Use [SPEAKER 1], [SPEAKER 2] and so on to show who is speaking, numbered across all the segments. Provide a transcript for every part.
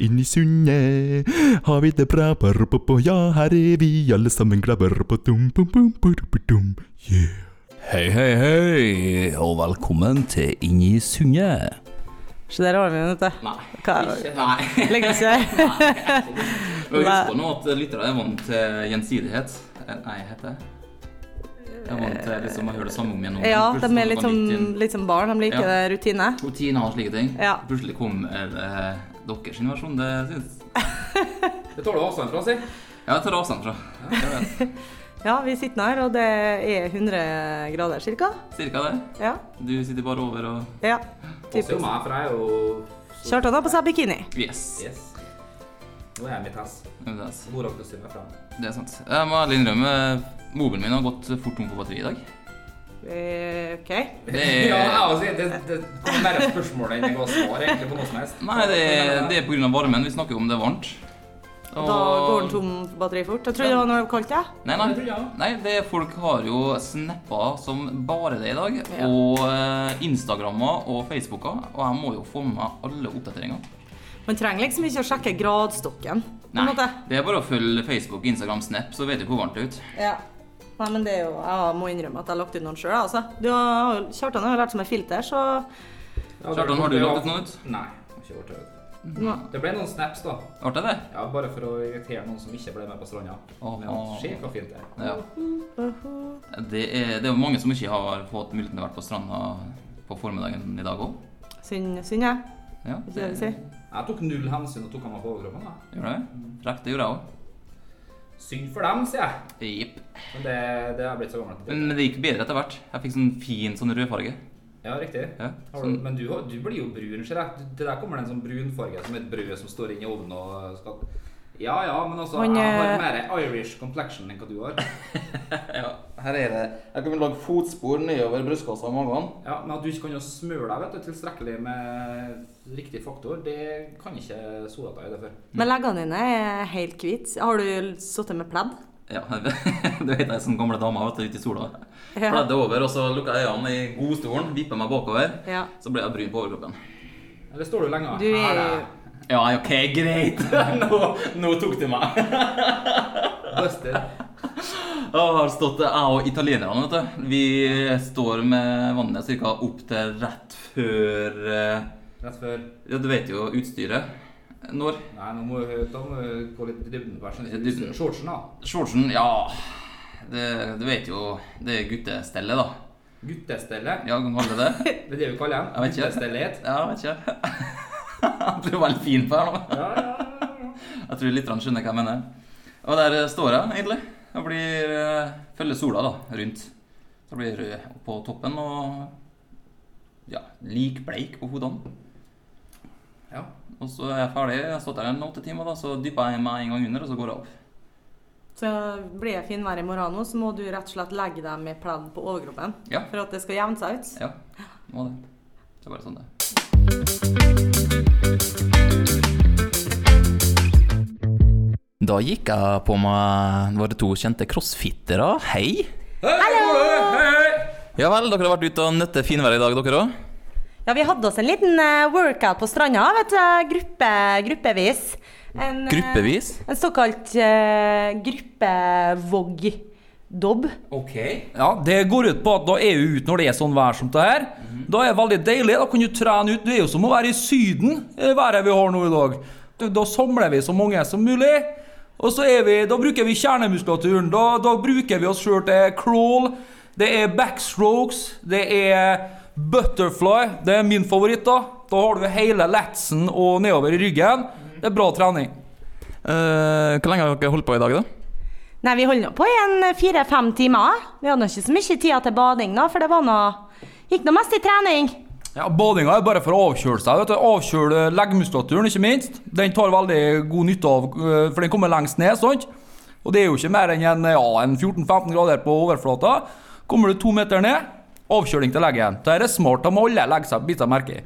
[SPEAKER 1] Inn i sundet har vi det bra. Ja, her er vi alle sammen glade. Yeah.
[SPEAKER 2] Hei, hei, hei, og velkommen til Inn i sundet.
[SPEAKER 3] Så dere ordner det, vet du.
[SPEAKER 4] Nei.
[SPEAKER 3] Hva,
[SPEAKER 4] Ikke, nei.
[SPEAKER 3] legger ikke.
[SPEAKER 4] Men Husk på nå at lyttere er vant til gjensidighet. Eh, Nei, heter det. Jeg er vant til liksom, å høre det samme om igjen. og om igjen.
[SPEAKER 3] Ja, de
[SPEAKER 4] Plutselig
[SPEAKER 3] er litt sånn-
[SPEAKER 4] var det nytt
[SPEAKER 3] som,
[SPEAKER 4] igjen.
[SPEAKER 3] litt som barn. De liker
[SPEAKER 4] Ja.
[SPEAKER 3] det rutine.
[SPEAKER 4] Rutiner og slike ting.
[SPEAKER 3] Ja.
[SPEAKER 4] Plutselig kom eh, deres versjon. Det syns
[SPEAKER 5] Det tar du avstand fra, si.
[SPEAKER 4] Ja, jeg tar avstand fra. Jeg vet.
[SPEAKER 3] Ja, vi sitter nå her, og det er 100 grader cirka.
[SPEAKER 4] Cirka det.
[SPEAKER 3] Ja.
[SPEAKER 4] Du sitter bare over og
[SPEAKER 3] ja.
[SPEAKER 5] Passer jo
[SPEAKER 3] Typisk.
[SPEAKER 5] meg, for jeg er jo
[SPEAKER 3] Kjartan har på seg bikini.
[SPEAKER 4] Yes.
[SPEAKER 5] Yes. Nå er jeg mitt hess.
[SPEAKER 4] Det er s-
[SPEAKER 5] Mora skal styre meg fram.
[SPEAKER 4] det er sant. Jeg må ærlig innrømme, mobilen min har gått fort tom for batteri i dag.
[SPEAKER 3] Eh, OK.
[SPEAKER 4] Det
[SPEAKER 5] Ja,
[SPEAKER 4] er...
[SPEAKER 5] jeg også, det, det kommer mer et spørsmål enn det går svar egentlig på noe som helst.
[SPEAKER 4] Nei, det er, det er på grunn av varmen. Vi snakker jo om det er varmt.
[SPEAKER 3] Da går den tom for batteri fort. Jeg trodde det var noe kaldt, jeg.
[SPEAKER 4] Nei,
[SPEAKER 5] Det
[SPEAKER 4] nei.
[SPEAKER 5] tror jeg også.
[SPEAKER 4] nei det, folk har jo snappa som bare det i dag.
[SPEAKER 3] Ja.
[SPEAKER 4] Og eh, Instagrammer og Facebooker. Og jeg må jo få med meg alle oppdateringene.
[SPEAKER 3] Man trenger liksom ikke å sjekke gradstokken. på en
[SPEAKER 4] Nei,
[SPEAKER 3] måte.
[SPEAKER 4] det er bare å følge Facebook, Instagram, Snap, så vet du hvor varmt det er ute.
[SPEAKER 3] Ja. Nei, men det er jo, Jeg må innrømme at jeg har lagt ut noen sjøl. Altså. Du har- Kjartan har jo lært seg med filter, så
[SPEAKER 4] Kjartan, har du lagt ut noe ut?
[SPEAKER 5] Nei. jeg har ikke gjort det.
[SPEAKER 3] nå,
[SPEAKER 4] Mm.
[SPEAKER 5] Det ble noen snaps, da.
[SPEAKER 4] Ble det det?
[SPEAKER 5] Ja, Bare for å irritere noen som ikke ble med på stranda.
[SPEAKER 4] Åh.
[SPEAKER 5] Men Se hvor fint det er.
[SPEAKER 4] Ja. Det er, det er jo mange som ikke har fått muligheten til å være på stranda på formiddagen i dag òg.
[SPEAKER 3] Synd, synd jeg.
[SPEAKER 4] Ja,
[SPEAKER 3] Ikke det vi sier.
[SPEAKER 5] Jeg tok null hensyn og tok han meg på overkroppen. da.
[SPEAKER 4] Gjør det? Rekt, det gjorde jeg òg.
[SPEAKER 5] Synd for dem, sier jeg.
[SPEAKER 4] Jepp.
[SPEAKER 5] Men det, det er blitt så gammelt.
[SPEAKER 4] Men men det gikk bedre etter hvert. Jeg fikk sånn fin sånn rødfarge.
[SPEAKER 5] Ja, riktig.
[SPEAKER 4] Ja, sånn-
[SPEAKER 5] Har du, men du, har- du blir jo brun, ser jeg. Du- Det der kommer det en sånn brunfarge som et brød som står inni ovnen og eh, skal Ja ja, men altså,
[SPEAKER 3] Men,
[SPEAKER 5] jeg
[SPEAKER 3] eh,
[SPEAKER 5] har mer Irish complexion enn hva du har.
[SPEAKER 4] Ja, her er det. Jeg kan lage fotspor nedover brystkassa og magen.
[SPEAKER 5] Ja, Men at du ikke kan jo smøre deg vet du, tilstrekkelig med riktig faktor, det kan ikke sola ta i det for.
[SPEAKER 3] Men leggene dine er helt hvite. Har du sittet med pledd?
[SPEAKER 4] Ja, du vet ei sånn gamle dame vet du, ute i sola.
[SPEAKER 3] Ja.
[SPEAKER 4] Bladde over, og så lukka jeg øynene i godstolen, vippa meg bakover.
[SPEAKER 3] Ja.
[SPEAKER 4] Så ble jeg brun på overkroppen.
[SPEAKER 5] Eller står du lenge?
[SPEAKER 3] Du
[SPEAKER 5] Her
[SPEAKER 3] er
[SPEAKER 4] Ja, OK, greit. nå, nå tok du meg.
[SPEAKER 5] Buster.
[SPEAKER 4] Jeg har stått, jeg og italienerne, vet du. Vi står med vannet cirka opp til rett før eh,
[SPEAKER 5] Rett før.
[SPEAKER 4] Ja, du vet jo utstyret. Når?
[SPEAKER 5] Nei, nå må du da må du gå litt i dybden på
[SPEAKER 4] I dybden.
[SPEAKER 5] sånn. Shortsen, da.
[SPEAKER 4] Shortsen, ja det, Du vet jo Det er guttestellet, da.
[SPEAKER 5] Guttestellet.
[SPEAKER 4] Ja, kan du kalle det det?
[SPEAKER 5] Det er det vi kaller
[SPEAKER 4] Jeg vet
[SPEAKER 5] den.
[SPEAKER 4] ikke.
[SPEAKER 5] Guttestellet.
[SPEAKER 4] Ja, vet ikke. Jeg tror jeg var litt fin på her nå.
[SPEAKER 5] Ja, ja, ja.
[SPEAKER 4] Jeg tror litt skjønner hva jeg mener. Og der eh, står jeg egentlig. Jeg blir, eh, følger sola da, rundt. Så jeg blir rød på toppen og ja, lik bleik på hodene.
[SPEAKER 5] ja.
[SPEAKER 4] Og så er jeg ferdig. Jeg har stått der en åtte timer, da, så dypper jeg meg en gang under, og så går jeg opp.
[SPEAKER 3] Så blir det finvær i morgen nå, så må du rett og slett legge deg med pledd på overkroppen.
[SPEAKER 4] Ja.
[SPEAKER 3] For at det skal jevne seg ut.
[SPEAKER 4] Ja, må det. Det er bare sånn det er. Da gikk jeg på meg Var det to kjente crossfittere? Hei! Ja vel, dere har vært ute og nøtte finværet i dag, dere òg?
[SPEAKER 3] Ja, vi hadde oss en liten eh, workout på stranda, vet du. Gruppe, gruppevis. En, eh,
[SPEAKER 4] Gruppevis?
[SPEAKER 3] En såkalt uh, gruppevogg-dobb.
[SPEAKER 4] OK.
[SPEAKER 6] Ja, det går ut på at da er du ute når det er sånn vær som det her.
[SPEAKER 5] Mhm.
[SPEAKER 6] Da er det veldig deilig. Da kan du trene ut. Det er jo som å være i Syden, eh, været vi har nå i dag. Da- Da samler vi så mange som mulig. Og så er vi, da bruker vi kjernemuskulaturen. Da, da bruker vi oss sjøl til crawl, det er backstrokes, det er butterfly. Det er min favoritt, da. Da har du hele latsen og nedover i ryggen. Det er bra trening.
[SPEAKER 4] Eh, hvor lenge har dere holdt på i dag, da?
[SPEAKER 3] Nei, vi holder nå på i en fire-fem timer. Vi hadde nå ikke så mye tid til bading, da, for det var nå Gikk nå mest i trening.
[SPEAKER 6] Ja, Badinga er bare for å avkjøle seg. vet du. Avkjøle leggmuskulaturen, ikke minst. Den tar veldig god nytte av, øh, for den kommer lengst ned. sant? Og det er jo ikke mer enn en, ja, en 14-15 grader på overflata. Kommer du to meter ned, avkjøling til leggen. Det er smart. Da må alle legge seg bite seg merke i.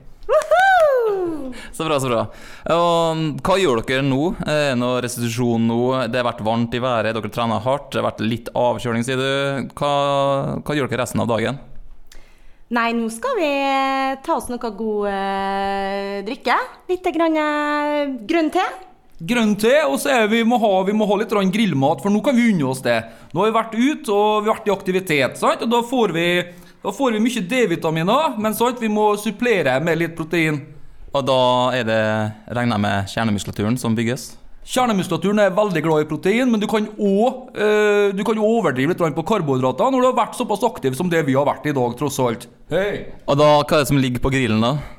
[SPEAKER 3] Woohoo!
[SPEAKER 4] Så bra, så bra. Og um, hva gjør dere nå? Er det noe restitusjon nå? Det har vært varmt i været, dere trener hardt, det har vært litt avkjøling, sier du. Hva, hva gjør dere resten av dagen?
[SPEAKER 3] Nei, nå skal vi eh, ta oss noe god eh, drikke. Litt grann, eh, grønn te.
[SPEAKER 6] Grønn te, og så er vi, må ha, vi må ha litt grann grillmat, for nå kan vi unne oss det. Nå har vi vært ute og vi har vært i aktivitet, sant? og da får vi, da får vi mye D-vitaminer, men sant? vi må supplere med litt protein.
[SPEAKER 4] Og da er det, regner jeg med, kjernemuskulaturen som bygges.
[SPEAKER 6] Kjernemuskulaturen er veldig glad i protein, men du kan òg eh, du kan overdrive litt grann på karbohydrater når du har vært såpass aktiv som det vi har vært i dag, tross alt. Hei!
[SPEAKER 4] Og da, hva er det som ligger på grillen, da?
[SPEAKER 6] Nei,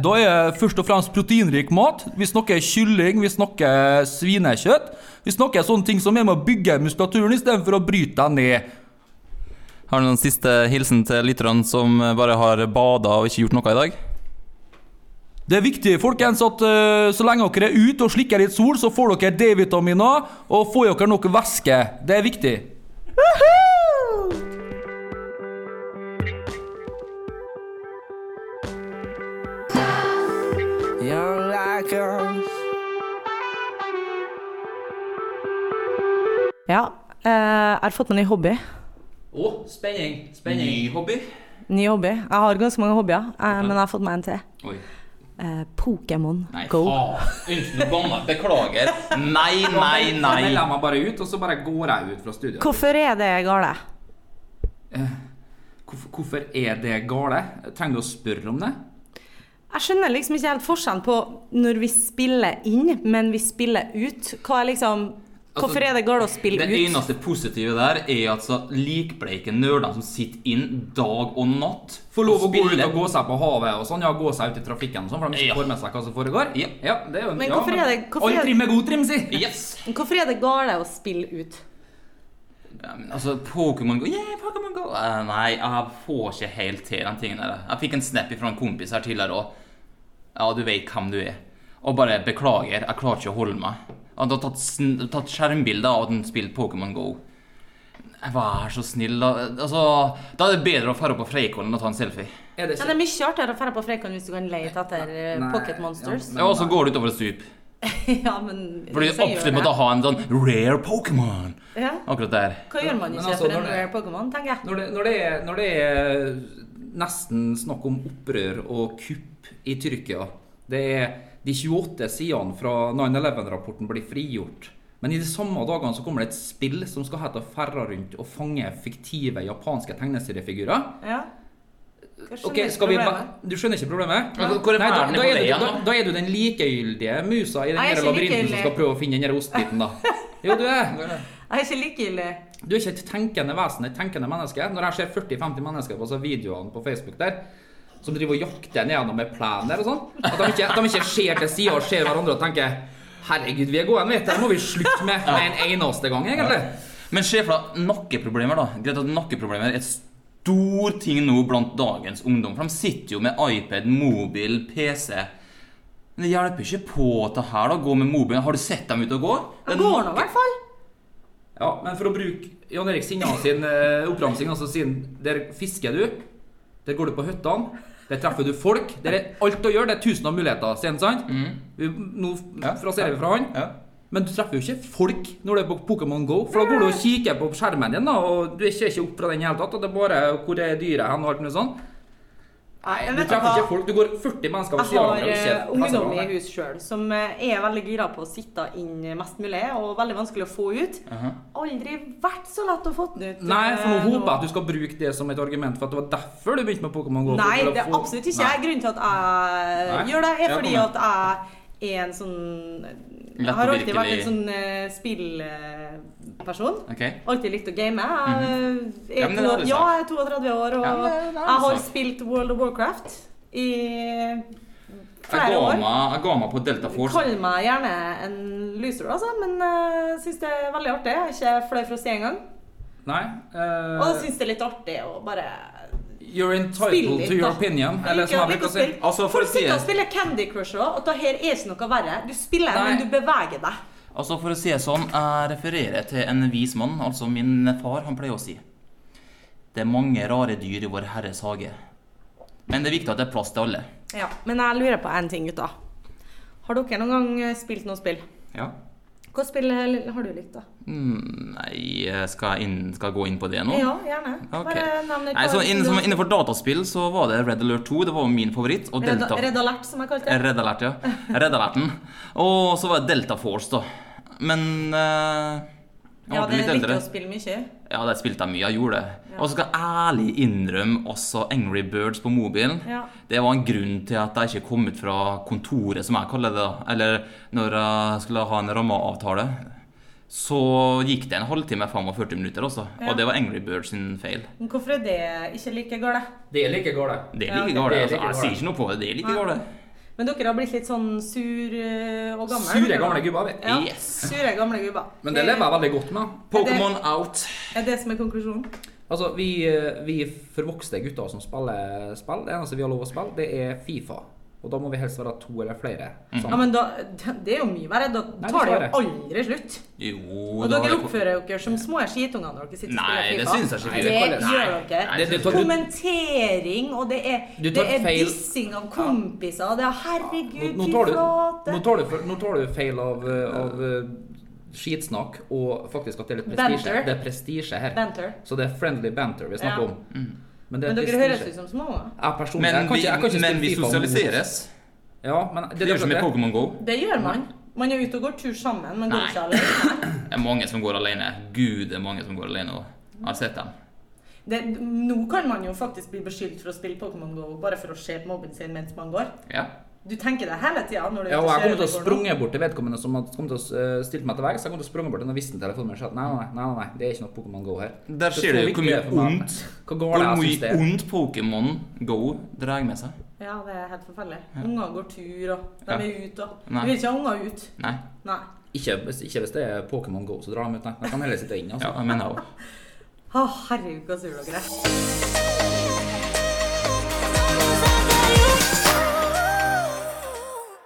[SPEAKER 6] Da er det først og fremst proteinrik mat. Vi snakker kylling, vi snakker svinekjøtt. Vi snakker sånne ting som er med å bygge muskulaturen istedenfor å bryte deg ned.
[SPEAKER 4] Har du noen siste hilsen til lytterne som bare har bada og ikke gjort noe i dag?
[SPEAKER 6] Det er viktig folkens, at eh, så lenge dere er ute og slikker litt sol, så får dere D-vitaminer og får dere nok væske. Det er viktig.
[SPEAKER 7] Young like us.
[SPEAKER 3] Ja, eh, jeg har fått meg ny hobby.
[SPEAKER 5] Å, spenning. Spenning.
[SPEAKER 4] Ny hobby?
[SPEAKER 3] Ny hobby. Jeg har ganske mange hobbyer, eh, men jeg har fått meg en til.
[SPEAKER 4] Oi.
[SPEAKER 3] Eh, Pokémon
[SPEAKER 4] Nei,
[SPEAKER 3] Go.
[SPEAKER 4] faen. Unnskyld, nå banna jeg. Beklager. Nei, nei,
[SPEAKER 5] Da melder
[SPEAKER 4] nei.
[SPEAKER 5] jeg meg bare ut, og så bare går jeg ut fra studiet.
[SPEAKER 3] Hvorfor er det gale?
[SPEAKER 5] Hvorfor, hvorfor er det gale? Trenger du å spørre om det?
[SPEAKER 3] Jeg skjønner liksom ikke helt forskjellen på når vi spiller inn, men vi spiller ut. Hva er liksom Hvorfor
[SPEAKER 5] Altså,
[SPEAKER 3] er det galt å spille
[SPEAKER 4] Det
[SPEAKER 3] ut?
[SPEAKER 4] eneste positive der er at så likbleike nerder som sitter inn dag og natt
[SPEAKER 5] Få lov å gå ut
[SPEAKER 4] spiller-
[SPEAKER 5] og gå seg på havet og sånn, ja, gå seg ut i trafikken og sånn, for de ikke
[SPEAKER 4] Ja.
[SPEAKER 5] får med seg hva som foregår? Ja, det er jo
[SPEAKER 3] Men
[SPEAKER 5] ja,
[SPEAKER 3] hvorfor er det- hvorfor er-
[SPEAKER 5] All trim er god trim, si!
[SPEAKER 4] Yes!
[SPEAKER 3] Hvorfor er det galt å spille ut?
[SPEAKER 4] Ja, men altså, Pokémon Go Yeah, Pokémon Go! Eh, nei, jeg får ikke helt til de tingene der. Jeg fikk en snap fra en kompis her tidligere òg. Ja, du vet hvem du er. Og bare beklager, jeg klarer ikke å holde meg. Han har tatt, sn- tatt skjermbilder av at han spiller Pokémon Go. Vær så snill, da. Altså, da er det bedre å dra på Freikollen og ta en selfie.
[SPEAKER 5] Er det
[SPEAKER 3] Men det er mye artigere å dra på Frekon hvis du kan lete etter eh,
[SPEAKER 5] Nei,
[SPEAKER 3] pocket
[SPEAKER 5] ja,
[SPEAKER 3] monsters.
[SPEAKER 5] men-
[SPEAKER 4] Ja, og så går du utover et stup.
[SPEAKER 3] Ja, men
[SPEAKER 4] Fordi du
[SPEAKER 3] hvis jeg gjør
[SPEAKER 4] absolutt måtte
[SPEAKER 3] det-
[SPEAKER 4] ha en sånn rare Pokémon
[SPEAKER 3] ja.
[SPEAKER 4] akkurat der.
[SPEAKER 3] Hva gjør man
[SPEAKER 5] Men
[SPEAKER 3] ikke
[SPEAKER 5] altså,
[SPEAKER 3] for
[SPEAKER 5] når
[SPEAKER 3] en
[SPEAKER 5] det-
[SPEAKER 3] rare Pokémon, tenker jeg.
[SPEAKER 5] Når det, når, det er, når det er nesten snakk om opprør og kupp i Tyrkia Det er de 28 sidene fra 9-11-rapporten blir frigjort. Men i de samme dagene så kommer det et spill som skal hete Ferra rundt og fange fiktive japanske tegneseriefigurer.
[SPEAKER 3] Ja. Hva skjønner
[SPEAKER 5] Ok,
[SPEAKER 3] jeg
[SPEAKER 5] skal vi
[SPEAKER 3] problemet?
[SPEAKER 5] Du skjønner ikke problemet?
[SPEAKER 4] Men hvor er
[SPEAKER 5] Nei, da,
[SPEAKER 4] ferden
[SPEAKER 5] da,
[SPEAKER 4] på
[SPEAKER 5] er du,
[SPEAKER 4] veien,
[SPEAKER 5] da,
[SPEAKER 4] da?
[SPEAKER 5] da er du den likegyldige musa i den
[SPEAKER 3] Nei, jeg er
[SPEAKER 5] her
[SPEAKER 3] ikke
[SPEAKER 5] labyrinten som
[SPEAKER 3] likegyldig.
[SPEAKER 5] skal prøve å finne den her ostebiten, da. Jo, du er.
[SPEAKER 3] Jeg er ikke likegyldig.
[SPEAKER 5] Du er ikke et tenkende vesen, et tenkende menneske. Når jeg ser 40-50 mennesker på så videoene på Facebook der, som driver og jakter nedover med plen der og sånn, at de ikke, at de ikke ser til sida og ser hverandre og tenker Herregud, vi er gode, vet du. Det må vi slutte med med en eneste gang, egentlig.
[SPEAKER 4] Men se for deg nakkeproblemer, da. Greit at nakkeproblemer er et stor ting nå blant dagens ungdom. For de sitter jo med iPad, mobil, PC. Men det hjelper ikke på det her, da. Gå med mobilen. Har du sett dem ute og går?
[SPEAKER 3] Det går nå, i hvert fall.
[SPEAKER 5] Ja, men for å bruke Jan Erik Sinjan sin eh, oppramsing, altså sin Der fisker du, der går du på hyttene, der treffer du folk. Der er alt å gjøre, det er tusen av muligheter. Sen, sant? Vi, nå
[SPEAKER 4] Ja.
[SPEAKER 5] fraserer vi fra han.
[SPEAKER 4] Ja.
[SPEAKER 5] Men du treffer jo ikke folk når du er på Pokémon GO, for da går du og kikker på skjermen din, da, og du ser ikke opp fra den i det hele tatt. Og det er bare hvor er dyret hen, og alt mulig sånn. Nei,
[SPEAKER 3] men
[SPEAKER 5] du
[SPEAKER 3] vet du
[SPEAKER 5] treffer
[SPEAKER 3] hva?
[SPEAKER 5] ikke folk. Du går 40 mennesker ved
[SPEAKER 3] Jeg
[SPEAKER 5] siden av
[SPEAKER 3] har
[SPEAKER 5] hverandre.
[SPEAKER 3] eh,
[SPEAKER 5] og ikke passer
[SPEAKER 3] ungdom i
[SPEAKER 5] hverandre.
[SPEAKER 3] hus sjøl som eh, er veldig gira på å sitte inn mest mulig, og veldig vanskelig å få ut. Aldri vært så lett å få den ut.
[SPEAKER 5] Nei, for nå
[SPEAKER 3] eh,
[SPEAKER 5] håper jeg at du skal bruke det som et argument for at det var derfor du begynte med Pokémon GO. for
[SPEAKER 3] Nei,
[SPEAKER 5] å
[SPEAKER 3] det er
[SPEAKER 5] få-
[SPEAKER 3] absolutt ikke. Grunnen til at jeg
[SPEAKER 5] Nei,
[SPEAKER 3] gjør det, er
[SPEAKER 5] jeg
[SPEAKER 3] fordi
[SPEAKER 5] kommer.
[SPEAKER 3] at jeg er en sånn Jeg
[SPEAKER 4] Lett
[SPEAKER 3] har
[SPEAKER 4] og
[SPEAKER 3] alltid vært en
[SPEAKER 4] virkelig.
[SPEAKER 3] sånn eh, spillperson.
[SPEAKER 4] Ok.
[SPEAKER 3] Alltid likt å game. Jeg
[SPEAKER 4] Mhm. Ja,
[SPEAKER 3] er,
[SPEAKER 4] men det har
[SPEAKER 3] to,
[SPEAKER 4] du
[SPEAKER 3] ja, jeg er 32 år, og
[SPEAKER 4] Ja, men det- det har du
[SPEAKER 3] jeg har
[SPEAKER 4] sagt.
[SPEAKER 3] spilt World of Warcraft i
[SPEAKER 4] Jeg
[SPEAKER 3] flere
[SPEAKER 4] ga,
[SPEAKER 3] år.
[SPEAKER 4] meg, jeg ga meg på Delta Force.
[SPEAKER 3] Kall meg gjerne en loser, altså, men jeg syns det er veldig artig. Jeg er ikke fløy for å si engang.
[SPEAKER 5] Nei. eh,
[SPEAKER 3] Og jeg syns det er litt artig å bare
[SPEAKER 5] You're
[SPEAKER 3] Spill
[SPEAKER 5] entitled
[SPEAKER 3] litt,
[SPEAKER 5] to your
[SPEAKER 3] da.
[SPEAKER 5] opinion. Eller som
[SPEAKER 3] Ikke-
[SPEAKER 5] jeg
[SPEAKER 3] ikke
[SPEAKER 5] bruker å si.
[SPEAKER 3] spill.
[SPEAKER 4] Altså, for
[SPEAKER 3] Folk
[SPEAKER 4] å si-
[SPEAKER 3] sitter og spiller Candy Crush også, og det her er ikke noe verre. Du spiller,
[SPEAKER 5] Nei.
[SPEAKER 3] men du beveger deg.
[SPEAKER 4] Altså, for å si det sånn, jeg refererer til en vis mann, altså min far, han pleier å si Det er mange rare dyr i Vår Herres hage. Men det er viktig at det er plass til alle.
[SPEAKER 3] Ja, Men jeg lurer på en ting, gutta. Har dere noen gang eh, spilt noe spill?
[SPEAKER 5] Ja.
[SPEAKER 3] Hva spill har du likt, da?
[SPEAKER 4] Nei, skal jeg, inn, skal jeg gå inn på det nå?
[SPEAKER 3] Ja, gjerne.
[SPEAKER 4] Ok.
[SPEAKER 3] Bare nevn et
[SPEAKER 4] Nei,
[SPEAKER 3] par
[SPEAKER 4] så innen,
[SPEAKER 3] spill.
[SPEAKER 4] som, Innenfor dataspill så var det Red Alert 2. Det var min favoritt. Og
[SPEAKER 3] Red,
[SPEAKER 4] Delta Eh,
[SPEAKER 3] Red Alert, som jeg kalte det.
[SPEAKER 4] Red Alert, ja. Red Alerten. Og så var det Delta Force, da. Men eh, jeg
[SPEAKER 3] Ja,
[SPEAKER 4] ble
[SPEAKER 3] det
[SPEAKER 4] litt
[SPEAKER 3] likte
[SPEAKER 4] eldre.
[SPEAKER 3] å spille mye.
[SPEAKER 4] Ja, det spilte jeg mye. Jeg gjorde det. Og så skal jeg ærlig innrømme også Angry Birds på mobilen.
[SPEAKER 3] Ja.
[SPEAKER 4] Det var en grunn til at jeg ikke kom ut fra kontoret, som jeg kaller det. da. Eller når jeg skulle ha en rammeavtale. Så gikk det en halvtime, 45 minutter også.
[SPEAKER 3] Ja.
[SPEAKER 4] Og det var Angry Birds sin feil.
[SPEAKER 3] Men Hvorfor er det ikke like galt?
[SPEAKER 5] Det er like galt.
[SPEAKER 4] Det er
[SPEAKER 3] Ja,
[SPEAKER 4] like
[SPEAKER 3] det-
[SPEAKER 4] galt.
[SPEAKER 5] det er
[SPEAKER 4] Altså,
[SPEAKER 5] like
[SPEAKER 4] jeg
[SPEAKER 5] galt.
[SPEAKER 4] sier ikke noe på det. Det er like
[SPEAKER 3] Nei.
[SPEAKER 4] galt.
[SPEAKER 3] Men dere har blitt litt sånn sur eh, og gammel?
[SPEAKER 5] Sure
[SPEAKER 3] dere da?
[SPEAKER 5] gamle gubber, vi.
[SPEAKER 3] Ja,
[SPEAKER 4] Yes.
[SPEAKER 3] Sure gamle gubber.
[SPEAKER 5] Men det lever jeg veldig godt med.
[SPEAKER 4] Pokémon out.
[SPEAKER 3] Er det som er konklusjonen?
[SPEAKER 5] Altså, vi, vi forvokste gutter som spiller spill. Det eneste vi har lov å spille, det er Fifa. Og da må vi helst være to eller flere. Sånn.
[SPEAKER 3] Ja, men da, Det er jo mye verre. Da
[SPEAKER 5] det
[SPEAKER 3] tar det
[SPEAKER 5] skal
[SPEAKER 3] jo aldri slutt.
[SPEAKER 4] Jo,
[SPEAKER 3] Og
[SPEAKER 4] da har
[SPEAKER 3] dere
[SPEAKER 4] jeg-
[SPEAKER 3] oppfører dere som små skitunger når dere sitter og
[SPEAKER 4] Nei,
[SPEAKER 3] spiller
[SPEAKER 4] det
[SPEAKER 3] FIFA.
[SPEAKER 4] syns jeg
[SPEAKER 3] Det
[SPEAKER 4] ikke.
[SPEAKER 5] Nei, det
[SPEAKER 3] gjør
[SPEAKER 5] Nei,
[SPEAKER 3] dere.
[SPEAKER 5] det- du tar- du-
[SPEAKER 3] Kommentering, og det er,
[SPEAKER 5] Du
[SPEAKER 3] det
[SPEAKER 5] tar
[SPEAKER 3] er
[SPEAKER 5] feil.
[SPEAKER 3] dissing av kompiser. og Det er
[SPEAKER 5] Nå,
[SPEAKER 3] herregud,
[SPEAKER 5] nå,
[SPEAKER 3] fy
[SPEAKER 5] tar du,
[SPEAKER 3] flate.
[SPEAKER 5] nå, tar du, nå tar du feil av, eh, av eh, skitsnakk og faktisk at det er litt prestisje.
[SPEAKER 3] Banter.
[SPEAKER 5] Det er prestisje her.
[SPEAKER 3] Banter.
[SPEAKER 5] Så det er friendly banter vi
[SPEAKER 3] Ja.
[SPEAKER 5] snakker om. Men det
[SPEAKER 3] Men dere
[SPEAKER 5] prestisje.
[SPEAKER 3] høres ut som små.
[SPEAKER 5] Jeg personlig,
[SPEAKER 4] Mm. Men
[SPEAKER 5] jeg kan
[SPEAKER 4] vi,
[SPEAKER 5] ikke, jeg kan ikke
[SPEAKER 4] men
[SPEAKER 5] spille
[SPEAKER 4] vi
[SPEAKER 5] FIFA mot-
[SPEAKER 4] sosialiseres.
[SPEAKER 5] Ja, men det,
[SPEAKER 4] Det gjør som i
[SPEAKER 5] det-
[SPEAKER 4] Pokémon Go.
[SPEAKER 3] Det gjør man. Man er ute og går tur sammen. Man går
[SPEAKER 4] Nei.
[SPEAKER 3] ikke alene.
[SPEAKER 4] Det er mange som går alene. Gud, det er mange som går alene òg. Jeg har sett dem.
[SPEAKER 3] Det, nå kan man jo faktisk bli beskyldt for å spille Pokémon GO bare for å se på mobben sin mens man går.
[SPEAKER 4] Ja.
[SPEAKER 3] Du tenker det hele tida når du
[SPEAKER 5] Ja, og jeg kommer til å
[SPEAKER 3] kjører på gården.
[SPEAKER 5] sprunge bort til vedkommende som hadde kommet til å eh, stilt meg til veggs. Jeg kommer til å sprunge bort til den visste telefonen min og si at nei, nei, nei, nei, nei, det er ikke noe Pokémon Go her.
[SPEAKER 4] Der
[SPEAKER 5] Det
[SPEAKER 4] ser
[SPEAKER 5] står
[SPEAKER 4] du
[SPEAKER 5] ikke
[SPEAKER 4] hvor mye
[SPEAKER 5] det for meg.
[SPEAKER 4] ondt
[SPEAKER 5] Hvor galt
[SPEAKER 4] Hvor
[SPEAKER 5] jeg synes
[SPEAKER 4] mye
[SPEAKER 5] det er.
[SPEAKER 4] ondt Pokémon Go drar med seg.
[SPEAKER 3] Ja, det er helt forferdelig. Unger går tur, og de
[SPEAKER 4] Ja.
[SPEAKER 3] er ute, og
[SPEAKER 4] Nei.
[SPEAKER 3] Du vil ikke ha unger ut.
[SPEAKER 4] Nei. altså,
[SPEAKER 3] Nei.
[SPEAKER 5] Ikke, hvis- ikke hvis det er Pokémon Go, så drar de ut. Nei, de kan heller sitte inne.
[SPEAKER 4] Ja,
[SPEAKER 5] Altså.
[SPEAKER 4] jeg mener jeg òg.
[SPEAKER 3] Å, herregud, hva sur dere er.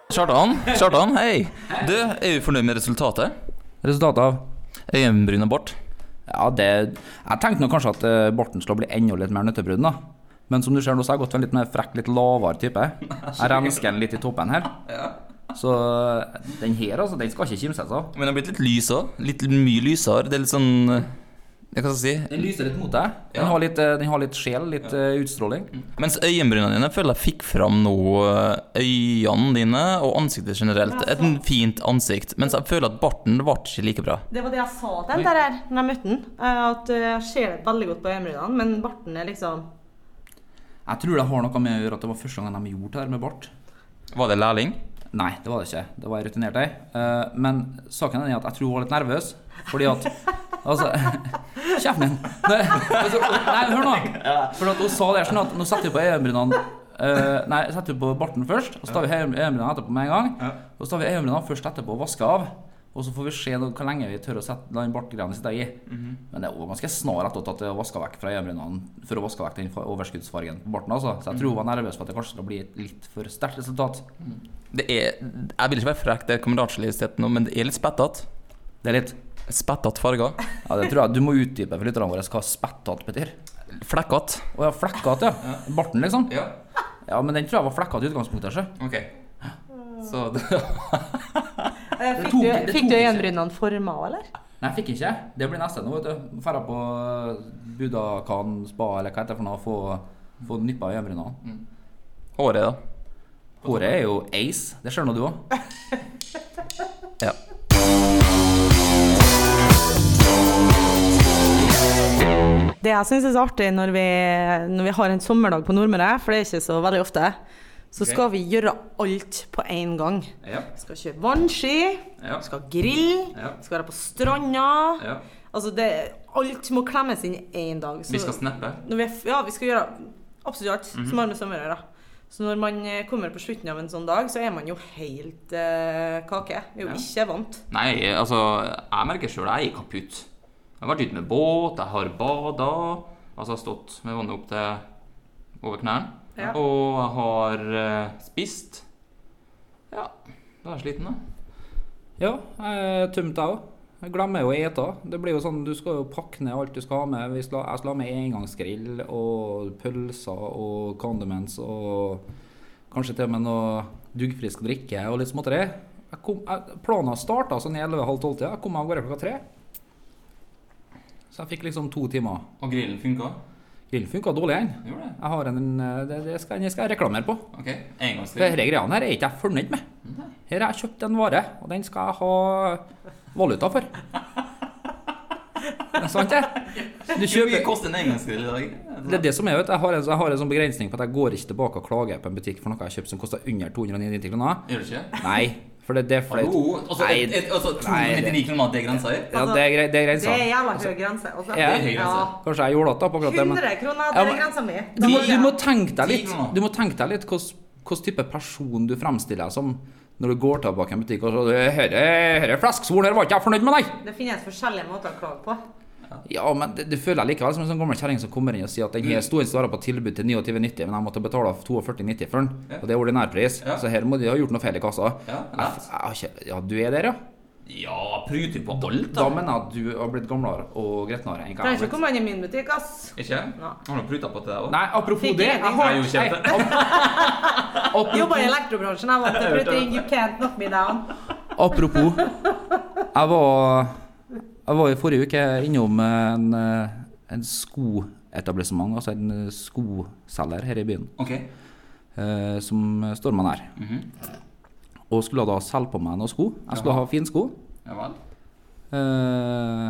[SPEAKER 4] Kjartan, Kjartan, hei. Du, er du fornøyd med resultatet?
[SPEAKER 5] Resultatet av
[SPEAKER 4] Øyenbryna bort.
[SPEAKER 5] Ja, det Jeg tenkte nå kanskje at eh, barten skulle bli enda litt mer nøttebrun, da. Men som du ser nå, så har jeg gått for en litt mer frekk, litt lavere type. Jeg rensker den litt i toppen her. Så den her, altså, den skal ikke kimses av.
[SPEAKER 4] Men det har blitt litt lys òg. Litt mye lysere. Det er litt sånn eh, Jeg kan si
[SPEAKER 5] Den lyser litt mot deg. Den, har, litt, eh, den har litt sjel, litt eh, utstråling.
[SPEAKER 4] Mens øyenbrynene dine jeg føler jeg fikk fram nå eh, øynene dine og ansiktet generelt. Et fint ansikt. Mens jeg føler at barten ble ikke like bra.
[SPEAKER 3] Det var det jeg sa til den der her når jeg møtte den. eh, At eh, jeg ser det veldig godt på øyenbrynene, men barten er liksom
[SPEAKER 5] Jeg tror det har noe med å gjøre at det var første gangen de gjorde det her med bart.
[SPEAKER 4] Var det lærling?
[SPEAKER 5] Nei, det var det ikke. Det var jeg rutinert ei. Eh, Men saken er at jeg tror hun var litt nervøs, fordi at Altså Kjeften din! Nei, altså, nei, hør nå. For at hun sa det sånn at nå setter vi på øyenbrynene eh, Nei, setter vi på barten først, og så tar vi øyenbrynene etterpå med en gang. Og så tar vi øyenbrynene først etterpå og vasker av. Og så får vi se nå hvor lenge vi tør å sette den bartgreia sitte i. Men det er også ganske snar etter at jeg vaska vekk fra øyenbrynene for å vaske vekk den fa- overskuddsfargen på barten. altså. Så jeg tror hun var nervøs for at det kanskje skal bli et litt for sterkt resultat.
[SPEAKER 4] Det er Jeg vil ikke være frekk, det er kameratslig sett nå, men det er litt spettete.
[SPEAKER 5] Det er litt
[SPEAKER 4] Spettete farger.
[SPEAKER 5] Ja, det tror jeg Du må utdype for lytterne våre hva spetthatt betyr.
[SPEAKER 4] Flekkete.
[SPEAKER 5] Å ja, flekkhatt, ja. Barten, liksom.
[SPEAKER 4] Ja,
[SPEAKER 5] Ja, men den tror jeg var flekkete i utgangspunktet. Ikke?
[SPEAKER 4] OK. Så det,
[SPEAKER 3] Eh,
[SPEAKER 5] Det
[SPEAKER 3] Fikk
[SPEAKER 5] tok-
[SPEAKER 3] du,
[SPEAKER 5] det
[SPEAKER 3] fikk
[SPEAKER 5] tok
[SPEAKER 3] du
[SPEAKER 5] ikke.
[SPEAKER 3] øyenbrynene forma, eller?
[SPEAKER 5] Nei, fikk ikke. Det blir neste nå, vet du. Dra på eh, Budakan spa eller hva heter det for noe, få, få nyppa i øyenbrynene.
[SPEAKER 4] håret, da.
[SPEAKER 5] Håret er jo ace. Det ser nå du òg.
[SPEAKER 4] Ja.
[SPEAKER 3] Det jeg syns er så artig når vi, når vi har en sommerdag på Nordmøre, for det er ikke så veldig ofte, så skal vi gjøre alt på én gang.
[SPEAKER 5] Ja.
[SPEAKER 3] Skal kjøpe vannski,
[SPEAKER 5] Ja.
[SPEAKER 3] skal grille,
[SPEAKER 5] Ja.
[SPEAKER 3] skal være på stranda.
[SPEAKER 5] Ja.
[SPEAKER 3] Altså det, alt må klemmes inn én dag. Så
[SPEAKER 4] Vi skal snappe.
[SPEAKER 3] når vi, er f- ja, vi skal gjøre absolutt alt
[SPEAKER 5] Mhm.
[SPEAKER 3] som har med sommer å gjøre. Så når man eh, kommer på slutten av en sånn dag, så er man jo helt eh, kake. Vi er jo ikke vant.
[SPEAKER 4] Nei, altså, jeg merker sjøl jeg er kaputt. Jeg har vært ute med båt, jeg har bada. Altså jeg har stått med vannet opp til over knærne.
[SPEAKER 3] Ja.
[SPEAKER 4] Og jeg har eh, spist. Ja, da er jeg sliten, da.
[SPEAKER 5] ja jeg er tømt, jeg òg. Jeg glemmer jo å ete. Det blir jo sånn, Du skal jo pakke ned alt du skal ha med. Vi skal, jeg skal ha med engangsgrill og pølser og condiments og kanskje til og med noe duggfrisk drikke og litt småtteri. Jeg kom, jeg, planen starta sånn i 11.30 tida. Jeg kom meg av gårde klokka tre. Så jeg fikk liksom to timer.
[SPEAKER 4] Og grillen funka?
[SPEAKER 5] Grillen funka dårlig, den.
[SPEAKER 4] Gjorde det?
[SPEAKER 5] Jeg har en, eh, det, det skal, den skal jeg reklamere på.
[SPEAKER 4] Ok, engangsgrill.
[SPEAKER 5] Disse greiene her er ikke jeg fornøyd med. Her har jeg kjøpt en vare, og den skal jeg ha valuta for. Det er sant, det? Du
[SPEAKER 4] Hvor mye
[SPEAKER 5] kjøper
[SPEAKER 4] koster en engangsgrill i dag?
[SPEAKER 5] det er det som er, vet du. Jeg har, en, jeg har en sånn begrensning på at jeg går ikke tilbake og klager på en butikk for noe jeg har kjøpt som koster under 299 kroner.
[SPEAKER 4] Gjør det ikke?
[SPEAKER 5] Nei, for det, det er flaut.
[SPEAKER 4] Hallo? Altså, et, et, altså
[SPEAKER 5] Nei,
[SPEAKER 4] 299 kroner, det er grensa her?
[SPEAKER 5] Ja, det er greit. Det er greit
[SPEAKER 3] Det er
[SPEAKER 5] sant.
[SPEAKER 3] jævla høy grense. Altså.
[SPEAKER 5] Ja.
[SPEAKER 4] Det er høy grense.
[SPEAKER 5] Kanskje jeg er jålete på akkurat det, men
[SPEAKER 3] 100 kroner,
[SPEAKER 5] Ja,
[SPEAKER 3] det er
[SPEAKER 5] men-
[SPEAKER 3] grensa mi.
[SPEAKER 5] du må, du må tenke deg
[SPEAKER 4] Ti
[SPEAKER 5] litt
[SPEAKER 4] kroner.
[SPEAKER 5] Du må tenke deg litt hvordan hvordan type person du fremstiller deg som når du går tilbake i en butikk og så Herre, herre flesksvol, her var ikke jeg fornøyd med deg!
[SPEAKER 3] Det finnes forskjellige måter å klage på.
[SPEAKER 5] Ja, men det, det føler jeg likevel som en sånn gammel kjerring som kommer inn og sier at den
[SPEAKER 4] Mm.
[SPEAKER 5] her sto en stare på tilbud til 29,90, men jeg måtte betale 42,90 for den.
[SPEAKER 4] Ja.
[SPEAKER 5] Og det er ordinærpris,
[SPEAKER 4] Ja.
[SPEAKER 5] så her må de ha gjort noe feil i kassa.
[SPEAKER 4] Ja,
[SPEAKER 5] Jeg-
[SPEAKER 4] lett.
[SPEAKER 5] jeg har ikke- ja du er der, ja?
[SPEAKER 4] Ja, pruter på alt, da.
[SPEAKER 5] Da mener jeg at du har blitt gamlere og gretnere
[SPEAKER 3] Trenger
[SPEAKER 5] enn hva jeg
[SPEAKER 3] ikke
[SPEAKER 5] har blitt.
[SPEAKER 3] komme inn i min butikk, ass.
[SPEAKER 4] Ikke jeg? Har du pruta på til deg òg?
[SPEAKER 5] Nei, apropos
[SPEAKER 3] Fikk
[SPEAKER 5] det
[SPEAKER 3] jeg
[SPEAKER 5] jeg
[SPEAKER 3] ingenting?
[SPEAKER 5] har,
[SPEAKER 4] Nei, jo,
[SPEAKER 5] nei,
[SPEAKER 4] kjempe.
[SPEAKER 5] apropos-
[SPEAKER 3] Jobber i elektrobransjen. Jeg vant til printing. You can't knock me down.
[SPEAKER 5] Apropos Jeg var, jeg var i forrige uke innom en, eh, en skoetablissement, altså en eh, skoselger her i byen,
[SPEAKER 4] Ok. Mhm.
[SPEAKER 5] eh, som står meg nær. Og skulle da selge på meg noen sko. Jeg skulle ha finsko.
[SPEAKER 4] Ja vel.
[SPEAKER 5] Eh,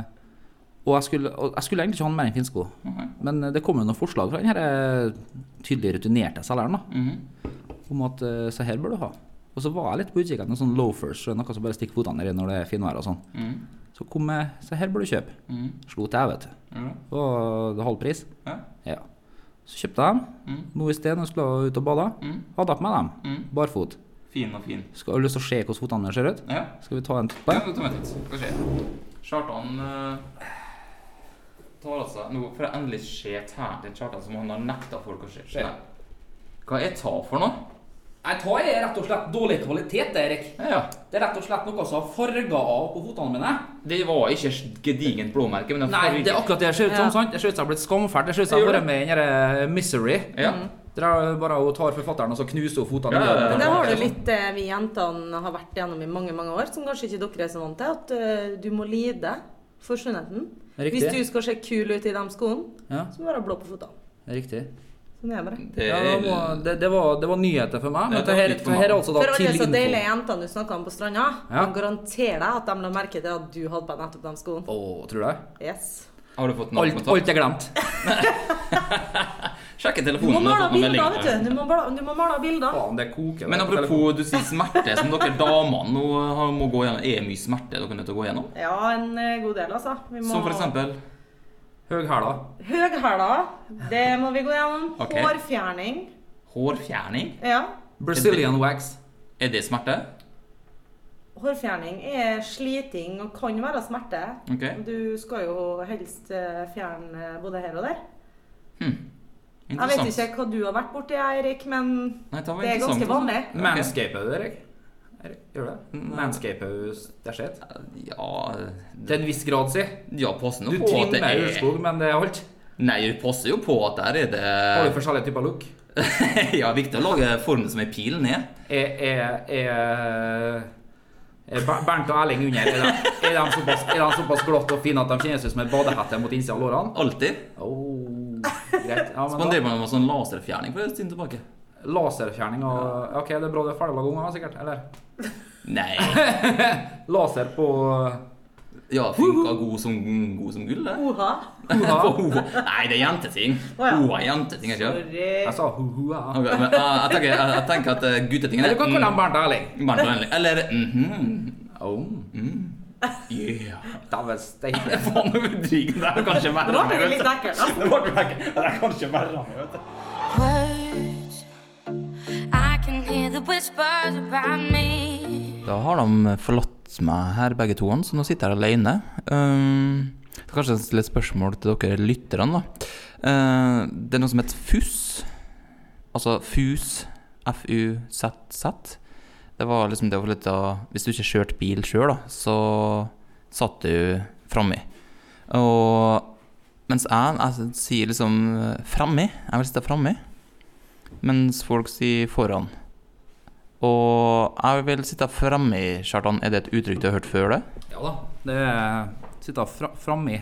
[SPEAKER 5] og jeg skulle, og jeg skulle egentlig ikke ha mer enn finsko, men eh, det kom jo noen forslag fra den her eh, tydelig rutinerte selgeren da,
[SPEAKER 4] Mhm.
[SPEAKER 5] om at eh, så her bør du ha. Og så var jeg litt på utkikk etter noen sånne loafers, noe som bare stikker fotene ned i når det er finvær og sånn.
[SPEAKER 4] Mhm.
[SPEAKER 5] Så kom jeg, så her bør du kjøpe. Slo til, jeg vet du.
[SPEAKER 4] Ja.
[SPEAKER 5] Og det var halv pris.
[SPEAKER 4] Ja.
[SPEAKER 5] Ja. Så kjøpte jeg dem. Nå i sted, når jeg skulle ut og bade, hadde jeg på meg dem. Barfot.
[SPEAKER 4] Fin og fin.
[SPEAKER 5] Skal du lyst til å se hvordan fotene mine ser ut?
[SPEAKER 4] Ja.
[SPEAKER 5] Skal vi ta en titt på
[SPEAKER 4] Ja,
[SPEAKER 5] det?
[SPEAKER 4] ta med titt. Skal vi se. Kjartan eh, tar altså Nå får jeg endelig se tærne til Kjartan, som han har nekta folk å se. Se her. Hva er ta for noe?
[SPEAKER 5] Jeg tar i rett og slett dårlig kvalitet, Erik.
[SPEAKER 4] Ja, ja.
[SPEAKER 5] Det er rett og slett noe som har farga av på fotene mine.
[SPEAKER 4] Det var ikke gedigent blåmerke, men det
[SPEAKER 5] Nei, det er akkurat det jeg ser ut som. sant? Jeg ser ut som jeg har blitt skamfælt. Jeg ser ut som jeg har vært med i den derre Misery.
[SPEAKER 4] Ja.
[SPEAKER 5] Der er det bare hun tar forfatteren og så knuser hun fotene.
[SPEAKER 4] Ja, ja, ja.
[SPEAKER 5] i
[SPEAKER 3] Men der
[SPEAKER 5] den.
[SPEAKER 3] har du litt det vi jentene har vært gjennom i mange mange år, som kanskje ikke dere er så vant til. At eh, du må lide for skjønnheten.
[SPEAKER 5] Riktig.
[SPEAKER 3] Hvis du skal se kul ut i de skoene,
[SPEAKER 5] Ja,
[SPEAKER 3] så må du være blå på føttene.
[SPEAKER 5] riktig.
[SPEAKER 3] Sånn er det bare.
[SPEAKER 4] Det
[SPEAKER 5] Ja, det, var, det, det, var, det var nyheter for meg.
[SPEAKER 4] Ja,
[SPEAKER 5] Men
[SPEAKER 4] det
[SPEAKER 5] det
[SPEAKER 4] var
[SPEAKER 5] her,
[SPEAKER 4] nytt for
[SPEAKER 5] det her
[SPEAKER 4] meg.
[SPEAKER 5] er altså da
[SPEAKER 3] For alle
[SPEAKER 5] til
[SPEAKER 3] så deilige
[SPEAKER 5] info.
[SPEAKER 3] jentene du snakka om på stranda,
[SPEAKER 5] Ja.
[SPEAKER 3] kan garantere deg at de la merke til at du hadde på deg nettopp de skoene.
[SPEAKER 5] Å, tror du det?
[SPEAKER 3] Yes.
[SPEAKER 4] Har du fått
[SPEAKER 5] Alt,
[SPEAKER 4] navnkontakt?
[SPEAKER 5] alt er glemt.
[SPEAKER 4] Sjekke
[SPEAKER 3] Du må
[SPEAKER 4] telefonen.
[SPEAKER 3] male
[SPEAKER 4] har fått noen
[SPEAKER 3] bilder,
[SPEAKER 4] meldinger.
[SPEAKER 3] vet du. Du må male, du må male bilder.
[SPEAKER 5] Faen, det koker.
[SPEAKER 4] Men apropos, du sier smerte, som dere damene nå har- må gå gjennom. Er mye smerte dere er nødt til å gå gjennom?
[SPEAKER 3] Ja, en eh, god del, altså. Vi må
[SPEAKER 4] Som for eksempel
[SPEAKER 5] Høghæla.
[SPEAKER 3] Høghæla. Det må vi gå gjennom.
[SPEAKER 4] Ok.
[SPEAKER 3] Hårfjerning.
[SPEAKER 4] hårfjerning.
[SPEAKER 3] Ja.
[SPEAKER 5] Brazilian wax.
[SPEAKER 4] Er det smerte?
[SPEAKER 3] Hårfjerning er sliting og kan være smerte.
[SPEAKER 4] Ok.
[SPEAKER 3] Du skal jo helst eh, fjerne både her og der. Jeg vet
[SPEAKER 4] Interessant.
[SPEAKER 3] ikke hva du har vært borti, Eirik, men
[SPEAKER 4] Nei, det var
[SPEAKER 3] det er
[SPEAKER 4] interessant,
[SPEAKER 3] ganske
[SPEAKER 4] altså.
[SPEAKER 3] vanlig.
[SPEAKER 5] Manscaper du, Erik? Erik, Gjør du det?
[SPEAKER 4] Mm.
[SPEAKER 5] Manscaper du det skjer?
[SPEAKER 4] Ja,
[SPEAKER 5] Til en viss grad, si.
[SPEAKER 4] ja passer Mm. nå
[SPEAKER 5] Du
[SPEAKER 4] på at det
[SPEAKER 5] trimmer
[SPEAKER 4] er
[SPEAKER 5] urskog, men det er alt.
[SPEAKER 4] Nei, det passer jo på at der er
[SPEAKER 5] Har du
[SPEAKER 4] det
[SPEAKER 5] forskjellige typer look?
[SPEAKER 4] Ja, viktig å lage formen som en pil ned.
[SPEAKER 5] Er, er, er, er Ber- Bernt og Erling under? Er de, er de såpass, er de såpass glatt og fine at de kjennes ut som en badehette mot innsida av lårene?
[SPEAKER 4] Alltid.
[SPEAKER 5] Åh, greit. Ja, men
[SPEAKER 4] Spanderer
[SPEAKER 5] da,
[SPEAKER 4] man med sånn laserfjerning for en stund tilbake.
[SPEAKER 5] laserfjerning og Eh, OK, det er bra du er ferdig å lage unger, sikkert? Eller?
[SPEAKER 4] Nei.
[SPEAKER 5] Laser på eh,
[SPEAKER 4] Ja, funka god som, god som gull, det.
[SPEAKER 3] Oha.
[SPEAKER 4] På hoa. Nei, det er jenteting.
[SPEAKER 3] ja.
[SPEAKER 4] Hoa er jenteting, ikke
[SPEAKER 3] eh,
[SPEAKER 4] sant?
[SPEAKER 5] Jeg sa ho-ho-a.
[SPEAKER 4] Ok, men eh, jeg tenker, jeg, jeg tenker at eh, guttetingen
[SPEAKER 5] Eller
[SPEAKER 4] er
[SPEAKER 5] du kan kalle dem Bernt og Erling.
[SPEAKER 4] mm, Bernt og Henrik. Eller mhm.
[SPEAKER 5] Oh,
[SPEAKER 4] Yeah.
[SPEAKER 5] Dæven steike.
[SPEAKER 4] Faen, nå dryg det er kanskje verre.
[SPEAKER 3] Nå ble det litt ekkelt. altså.
[SPEAKER 8] words. I can hear the whispers around me.
[SPEAKER 4] Da har de forlatt meg her, begge to, så nå sitter jeg alene. Um, det er kanskje et litt spørsmål til dere lytterne, da. Eh, det er noe som heter FUS. Altså FUS, F-U-Z-Z. Det var liksom det å få litt av Hvis du ikke kjørte bil sjøl, da, så satt du framme. Og mens jeg, jeg sier liksom framme, jeg vil sitte framme, mens folk sier foran.
[SPEAKER 9] Og jeg vil sitte framme i Kjartan. Er det et uttrykk du har hørt før det?
[SPEAKER 5] Ja da. Det er sitte fra, framme i.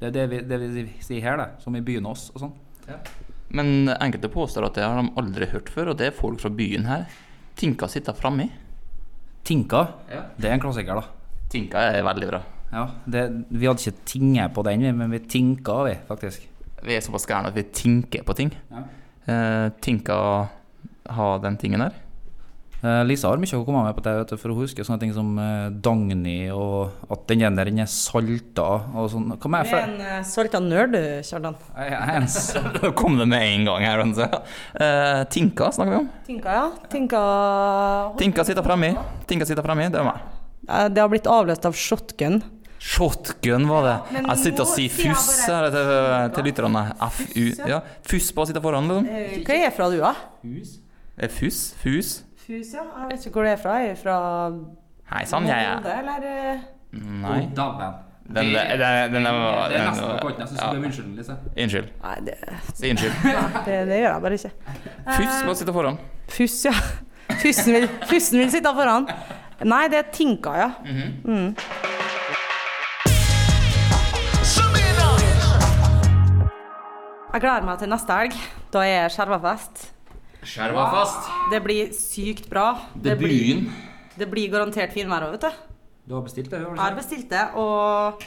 [SPEAKER 5] Det er det vi, det vi sier her, det. Som i byen oss og sånn.
[SPEAKER 9] Men enkelte påstår at det har de aldri hørt før, og det er folk fra byen her. Tinka sitter framme i.
[SPEAKER 5] Tinka. Det er en klassiker, da.
[SPEAKER 9] Tinka er veldig bra.
[SPEAKER 5] Ja, det, Vi hadde ikke tinge på den, vi, men vi tinka, vi, faktisk.
[SPEAKER 9] Vi er såpass gærne at vi tinker på ting.
[SPEAKER 5] Ja.
[SPEAKER 9] Eh, tinka ha den tingen her.
[SPEAKER 5] Eh, Lisa har mye å komme med på det, vet du, for hun husker sånne ting som eh, Dagny, og at den der den er salta og sånn. Hva mer
[SPEAKER 3] Du er
[SPEAKER 5] for
[SPEAKER 3] en eh, salta nerd, du, Kjartan.
[SPEAKER 5] Jeg er en s-
[SPEAKER 9] Da kom det med en gang her. Rense. Eh, tinka snakker vi om.
[SPEAKER 3] Tinka, ja. Tinka
[SPEAKER 9] Tinka sitter framme i. Tinka sitter framme i, det er meg.
[SPEAKER 3] Eh, Det har blitt avløst av shotgun.
[SPEAKER 9] Shotgun var det.
[SPEAKER 10] men
[SPEAKER 9] jeg sitter og
[SPEAKER 10] nå
[SPEAKER 9] sier
[SPEAKER 10] sier jeg
[SPEAKER 9] fuss
[SPEAKER 10] bare-
[SPEAKER 9] her til, til lytterne. FU. Ja. Fuss på å sitte foran, liksom.
[SPEAKER 3] Eh, Hva er jeg fra du, da?
[SPEAKER 9] Er Fuss? Eh, Fus?
[SPEAKER 3] Fus, ja. Jeg vet ikke hvor det er fra. Jeg er fra
[SPEAKER 9] Hei sann, jeg er
[SPEAKER 3] Molde, eller eh,
[SPEAKER 9] Nei.
[SPEAKER 5] Å, Dæven.
[SPEAKER 9] Den, den, den, den, var-
[SPEAKER 5] Det er
[SPEAKER 9] den,
[SPEAKER 5] nesten på
[SPEAKER 9] var-
[SPEAKER 5] kanten. Jeg syns du er unnskyldende, Lise.
[SPEAKER 9] Unnskyld.
[SPEAKER 3] Nei, det,
[SPEAKER 9] Si unnskyld.
[SPEAKER 3] det, eh, det gjør jeg bare ikke.
[SPEAKER 9] Fuss på å sitte foran.
[SPEAKER 3] Fuss, ja. Fussen vil, fussen vil sitte foran. Nei, det er Tinka, ja. Mm. Jeg gleder meg til neste helg. Da er skjervafest.
[SPEAKER 4] Skjerva fast.
[SPEAKER 3] Det blir sykt bra. Det blir,
[SPEAKER 4] Debuten.
[SPEAKER 3] det blir garantert finvær òg, vet du.
[SPEAKER 5] Du har bestilt det?
[SPEAKER 3] Jeg har bestilt det, og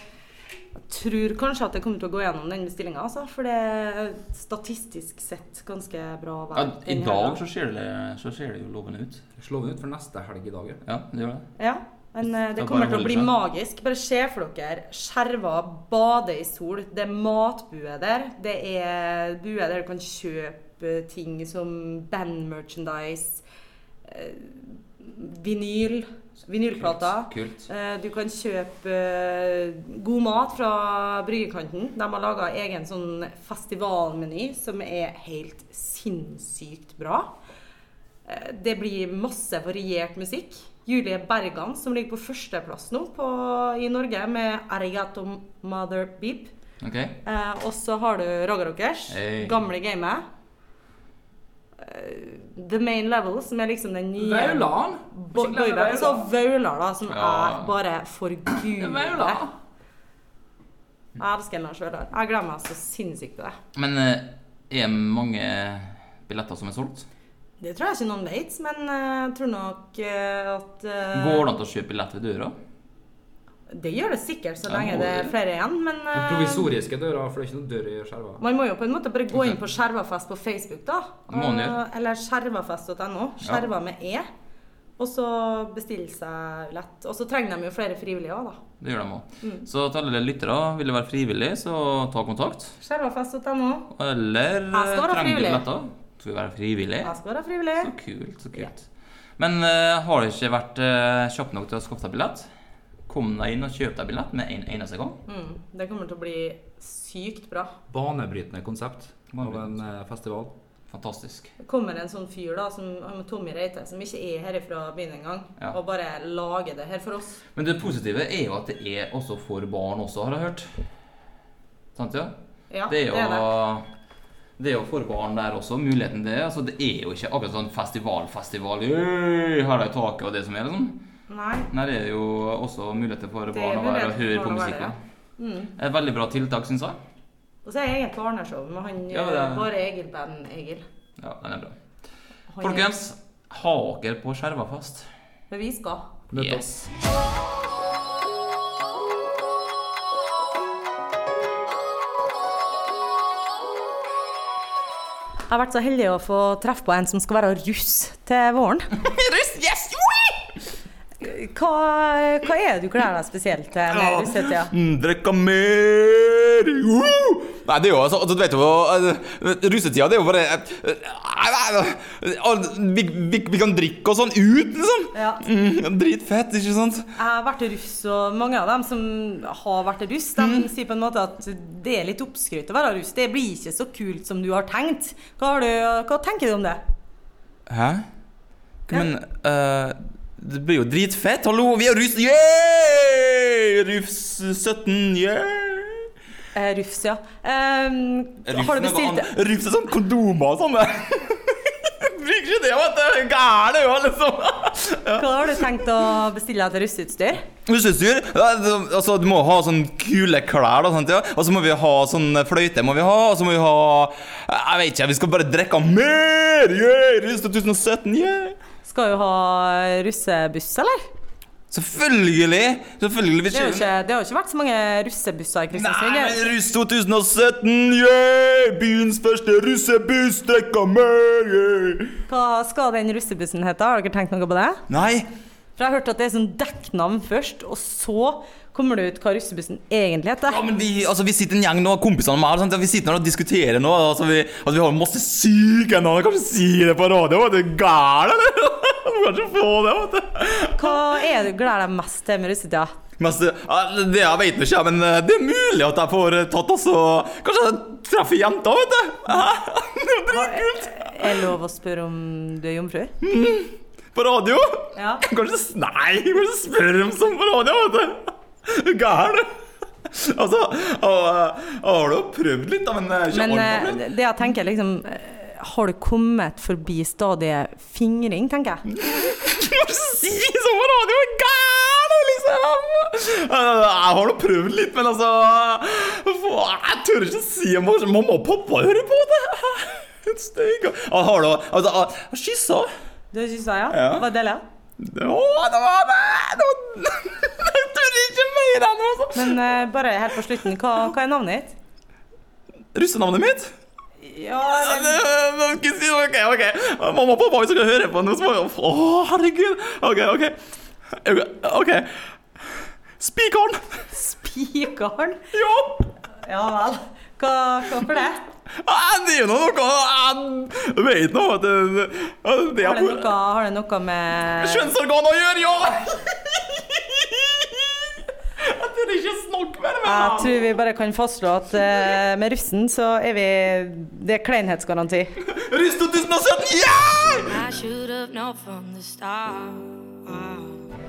[SPEAKER 3] jeg tror kanskje at jeg kommer til å gå gjennom den bestillinga, altså. For det er statistisk sett ganske bra
[SPEAKER 4] Ja,
[SPEAKER 3] vær.
[SPEAKER 4] I
[SPEAKER 3] denne
[SPEAKER 4] dag
[SPEAKER 3] helga.
[SPEAKER 4] så ser det, så ser det jo lovende ut.
[SPEAKER 5] Slå den ut for neste helg i dag. ja.
[SPEAKER 4] Ja, det gjør det.
[SPEAKER 3] Ja. Men eh, det
[SPEAKER 4] Da
[SPEAKER 3] kommer
[SPEAKER 4] bare
[SPEAKER 3] til å
[SPEAKER 4] holder
[SPEAKER 3] bli
[SPEAKER 4] seg.
[SPEAKER 3] magisk. Bare se for dere skjerver, bade i sol. Det er matbue der. Det er bue der du kan kjøpe ting som band-merchandise, eh, vinyl, vinylplater.
[SPEAKER 5] Kult.
[SPEAKER 3] Eh, Du kan kjøpe eh, god mat fra bryggekanten. De har laga egen sånn festivalmeny som er helt sinnssykt bra. Eh, Det blir masse variert musikk. Julie Bergan, som ligger på førsteplass nå på, i Norge med 'Arigato Mother Beep'.
[SPEAKER 4] Ok.
[SPEAKER 3] Eh, og så har du Raga Rockers,
[SPEAKER 4] Hey.
[SPEAKER 3] gamle gamet. Eh, The Main Level, som er liksom den nye
[SPEAKER 5] Vaulan!
[SPEAKER 3] Bo- boyband, og så Vaular, da, som
[SPEAKER 4] Ja.
[SPEAKER 3] jeg bare forguder.
[SPEAKER 5] Vaular.
[SPEAKER 3] Jeg elsker Lars Vaular. Jeg gleder meg så sinnssykt til det.
[SPEAKER 4] Men eh, er mange billetter som er solgt?
[SPEAKER 3] Det tror jeg ikke noen vet, men eh, jeg tror nok eh, at eh,
[SPEAKER 4] Går det an å kjøpe billett ved døra?
[SPEAKER 3] Det gjør det sikkert så
[SPEAKER 4] Ja,
[SPEAKER 3] lenge
[SPEAKER 4] må
[SPEAKER 3] det er
[SPEAKER 4] det.
[SPEAKER 3] flere igjen, men eh,
[SPEAKER 5] Provisoriske dører, for det er ikke noen dør i skjerva.
[SPEAKER 3] man må jo på en måte bare gå inn på Skjervafest på Facebook, da.
[SPEAKER 4] Det må man gjøre.
[SPEAKER 3] Eh, Eller skjervafest.no. Skjerva med e. Og så bestille seg lett. Og så trenger de jo flere frivillige òg, da.
[SPEAKER 4] Det gjør de òg.
[SPEAKER 3] Mm.
[SPEAKER 4] Så til alle lyttere, vil det være frivillig, så ta kontakt.
[SPEAKER 3] Skjervafest.no.
[SPEAKER 4] Eller eh,
[SPEAKER 3] Jeg skal være
[SPEAKER 4] trenger du
[SPEAKER 3] frivillig.
[SPEAKER 4] billetter? Skal vi være frivillig?
[SPEAKER 3] Jeg skal være frivillig.
[SPEAKER 4] Så kult, så kult. Men eh, har du ikke vært eh, kjapp nok til å skaffe deg billett? Kom deg inn og kjøp deg billett med en eneste gang.
[SPEAKER 3] Mm, det kommer til å bli sykt bra.
[SPEAKER 5] Banebrytende konsept av en
[SPEAKER 4] Banebrytende.
[SPEAKER 5] eh, festival.
[SPEAKER 4] Fantastisk.
[SPEAKER 3] Det kommer en sånn fyr da, som han Tommy Reite, som ikke er herifra byen engang,
[SPEAKER 4] Ja.
[SPEAKER 3] og bare lager det her for oss.
[SPEAKER 4] Men det positive er jo at det er også for barn også, har jeg hørt. Sant, ja?
[SPEAKER 3] Ja,
[SPEAKER 4] Det er
[SPEAKER 3] det er det.
[SPEAKER 4] jo det er jo for barn der også, muligheten til det. Altså, det er jo ikke akkurat sånn festival-festival. «Øy, Her er taket og det som er, liksom.
[SPEAKER 3] Nei,
[SPEAKER 4] Nei, det er jo også muligheter for
[SPEAKER 3] er
[SPEAKER 4] barn å være og
[SPEAKER 3] muligheter
[SPEAKER 4] høre
[SPEAKER 3] for
[SPEAKER 4] på
[SPEAKER 3] barn å
[SPEAKER 4] musikk.
[SPEAKER 3] være, Mm.
[SPEAKER 4] også. Et veldig bra tiltak, syns jeg.
[SPEAKER 3] og så er jeg et barneshow med han,
[SPEAKER 4] Ja, det
[SPEAKER 3] eh,
[SPEAKER 4] er-
[SPEAKER 3] bare Egil Band, Egil.
[SPEAKER 4] Ja, den er bra.
[SPEAKER 3] Han
[SPEAKER 4] Folkens, ha dere på skjerva fast.
[SPEAKER 3] Er, men vi skal.
[SPEAKER 4] Yes.
[SPEAKER 3] Jeg har vært så heldig å få treffe på en som skal være russ til våren. russ, yes! Hva, hva er det du gleder deg spesielt til med russetida?
[SPEAKER 9] Mm, Drikka mer uh! Nei, det er jo altså, altså Du vet jo eh, Russetida, det er jo bare eh, eh, eh, eh, vi, vi, vi kan drikke og sånn ut, liksom.
[SPEAKER 3] Ja.
[SPEAKER 9] Mm, dritfett, ikke sant?
[SPEAKER 3] Jeg har vært russ, og mange av dem som har vært russ, de sier på en måte at det er litt oppskrytt å være russ. Det blir ikke så kult som du har tenkt. Hva, har du, hva tenker du om det?
[SPEAKER 9] Hæ? Men eh, det blir jo dritfett. Hallo, vi er russ... Yeah! Russ 17, yeah!
[SPEAKER 3] Eh, russ, ja. Ehm, har du
[SPEAKER 9] Rufsen er
[SPEAKER 3] bestilt
[SPEAKER 9] sånn- Rufsen er sånn kondomer og sånn. der. Bruk
[SPEAKER 4] ikke det, vet du! Gærne jo, liksom. Ja.
[SPEAKER 3] Hva har du tenkt å bestille til russeutstyr?
[SPEAKER 4] Russestyr? Ja, det- Altså, du må ha sånn kule klær, da, sant, ja? og så må vi ha sånn fløyte, må vi ha, og så må vi ha eh, Jeg vet ikke, vi skal bare drikke mer! Yeah! Russ 2017, yeah!
[SPEAKER 3] Skal jo ha russebuss, eller?
[SPEAKER 4] Selvfølgelig! Selvfølgelig. vi
[SPEAKER 3] Det har jo ikke, det har jo ikke vært så mange russebusser i
[SPEAKER 4] Nei,
[SPEAKER 3] Kristiansund.
[SPEAKER 4] men russ 2017, yeah! Byens første russebuss, drikke mer, yeah!
[SPEAKER 3] Hva skal den russebussen hete? Har dere tenkt noe på det?
[SPEAKER 4] Nei,
[SPEAKER 3] For jeg har hørt at det er sånn dekknavn først, og så kommer det ut hva russebussen egentlig heter.
[SPEAKER 4] Ja, men de, altså, vi sitter en gjeng nå, kompisene med her, sant? vi sitter her og diskuterer nå. Altså, vi, altså, vi har masse syke navn. Kanskje si det på radio? Er du gæren, eller? Du kan ikke få det, vet du.
[SPEAKER 3] Hva er det du gleder deg mest til med russetida?
[SPEAKER 4] Men, altså, ja, det jeg vet ikke, men eh, det er mulig at jeg får eh, tatt altså Kanskje jeg treffer jenta, vet du. Hæ? Det er jo dritkult.
[SPEAKER 3] Er det lov å spørre om du er jomfru?
[SPEAKER 4] På radio?
[SPEAKER 3] Ja.
[SPEAKER 4] Kanskje s- Nei, kanskje spør om sånn på radio, vet du. Er du gæren? Altså, å, eh, har du prøvd litt, da? Men, eh, ikke
[SPEAKER 3] Men
[SPEAKER 4] ordentlig.
[SPEAKER 3] eh, det jeg tenker liksom eh, Har du kommet forbi stadiet fingring, tenker
[SPEAKER 4] Mm.
[SPEAKER 3] jeg?
[SPEAKER 4] Hva si sånn på radio? Er Gæren, liksom! Jeg har nå prøvd litt, men altså faen, Jeg tør ikke si om kanskje mamma og pappa hører på det. Et steg. Jeg har da altså, jeg har kyssa.
[SPEAKER 3] Du syns jeg, ja?
[SPEAKER 4] Ja.
[SPEAKER 3] Hva deler jeg?
[SPEAKER 4] Å, det var det! det var, jeg tør ikke mer enn altså.
[SPEAKER 3] Men eh, bare helt på slutten, hva, hva er navnet ditt?
[SPEAKER 4] Russenavnet mitt?
[SPEAKER 3] Ja,
[SPEAKER 4] Ja, det- det- skal jeg si, Ok, ok. Mamma og pappa hvis dere hører på noe, så må jeg Å, herregud. Ok, ok. Ok. Spikeren.
[SPEAKER 3] Spikaren?
[SPEAKER 4] Ja.
[SPEAKER 3] Ja vel. Hva, hva for det?
[SPEAKER 4] Nei, Det er jo noe Jeg vet nå at det, at det
[SPEAKER 3] Har
[SPEAKER 4] er
[SPEAKER 3] det noe, har det noe med
[SPEAKER 4] kjønnsorgan å gjøre, ja! Jeg tør ikke snakke mer med
[SPEAKER 3] Jeg
[SPEAKER 4] ham.
[SPEAKER 3] tror vi bare kan fastslå at eh, med russen så er vi Det er kleinhetsgaranti.
[SPEAKER 4] Russ 2017, yeah!
[SPEAKER 8] I should have known from the start.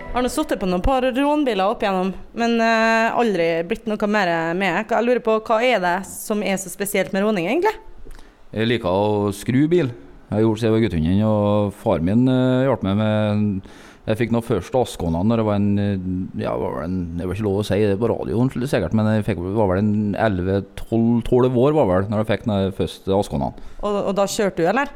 [SPEAKER 3] Har nå sittet på noen par rånbiler opp igjennom, men eh, aldri blitt noe mer med. Jeg lurer på hva er det som er så spesielt med råning, egentlig?
[SPEAKER 5] Jeg liker å skru bil. Jeg gjorde det siden jeg var guttungen, og far min eh, hjalp meg med Jeg fikk nå først Askona når jeg var en eh, Ja, var vel en, det var ikke lov å si det på radioen, sikkert, men jeg fikk, var vel en 11-12 år var vel, når jeg fikk den første Askonaen.
[SPEAKER 3] Og, og da kjørte du, eller?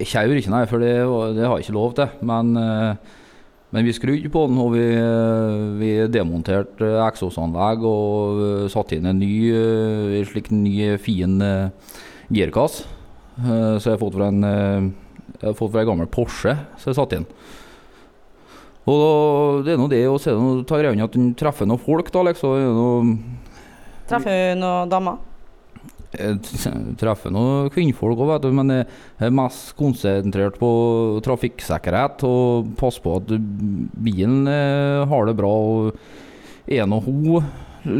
[SPEAKER 5] Kjaur ikke, nei, for det, var- det har jeg ikke lov til. Men, eh, men vi skrudde på den, og vi, eh, vi demonterte eh, eksosanlegg og eh, satte inn en ny, eh, en slik ny eh, fin eh, girkasse. Eh, Så jeg har fått fra en, eh, jeg har fått fra en gammel Porsche, så jeg satte inn. Og da, det er nå det, og så er det noe, tar greia at den treffer noen folk, da, liksom. Det er noe,
[SPEAKER 3] Traff hun noen damer?
[SPEAKER 5] jeg Eh, t- treffer noen kvinnfolk òg, vet du, men jeg er mest konsentrert på trafikksikkerhet og passe på at bilen eh, har det bra. Og en og hun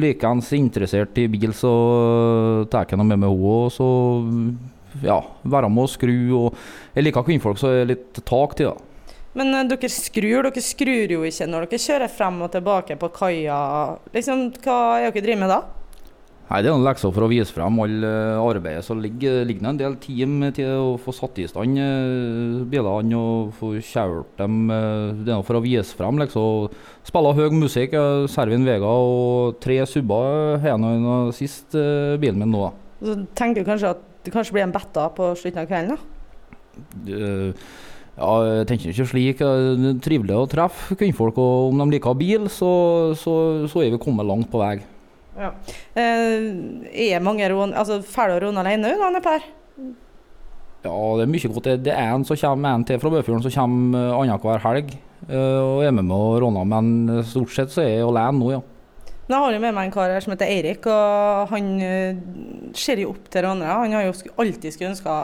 [SPEAKER 5] likeens interessert i bil, så tar jeg noe med meg hun og så ja, være med å skru. Og jeg liker kvinnfolk, så jeg er litt tak til det.
[SPEAKER 3] Men eh, dere skrur, dere skrur jo ikke når dere kjører frem og tilbake på kaia. Liksom, hva er dere driver med da?
[SPEAKER 5] Nei, Det er noen lekser for å vise frem all eh, arbeidet. Så ligger ligger det en del team til å få satt i stand eh, bilene og få kjørt dem. eh, Det er noe for å vise frem, liksom. Og Spiller høy musikk. eh, Servin Vega og tre subber har jeg nå nå sist eh, bilen min nå. da.
[SPEAKER 3] Så tenker du kanskje at det kanskje blir en betta på slutten av kvelden? da?
[SPEAKER 5] Eh, Ja, jeg tenker ikke slik. eh, Det er trivelig å treffe kvinnfolk, og om de liker bil, så, så, så er vi kommet langt på vei.
[SPEAKER 3] Eh, er mange rån... Altså, fæle å råne alene, hun, Anne Per?
[SPEAKER 5] Ja, det er mye godt. Det- Det er en som kommer en til fra Bøfjorden som kommer eh, annenhver helg eh, og er med meg og råner, men eh, stort sett så er jeg alene nå, ja.
[SPEAKER 3] Men jeg har jo med meg en kar her som heter Eirik, og han eh, ser jo opp til rånere. Han har jo sk- alltid skulle ønske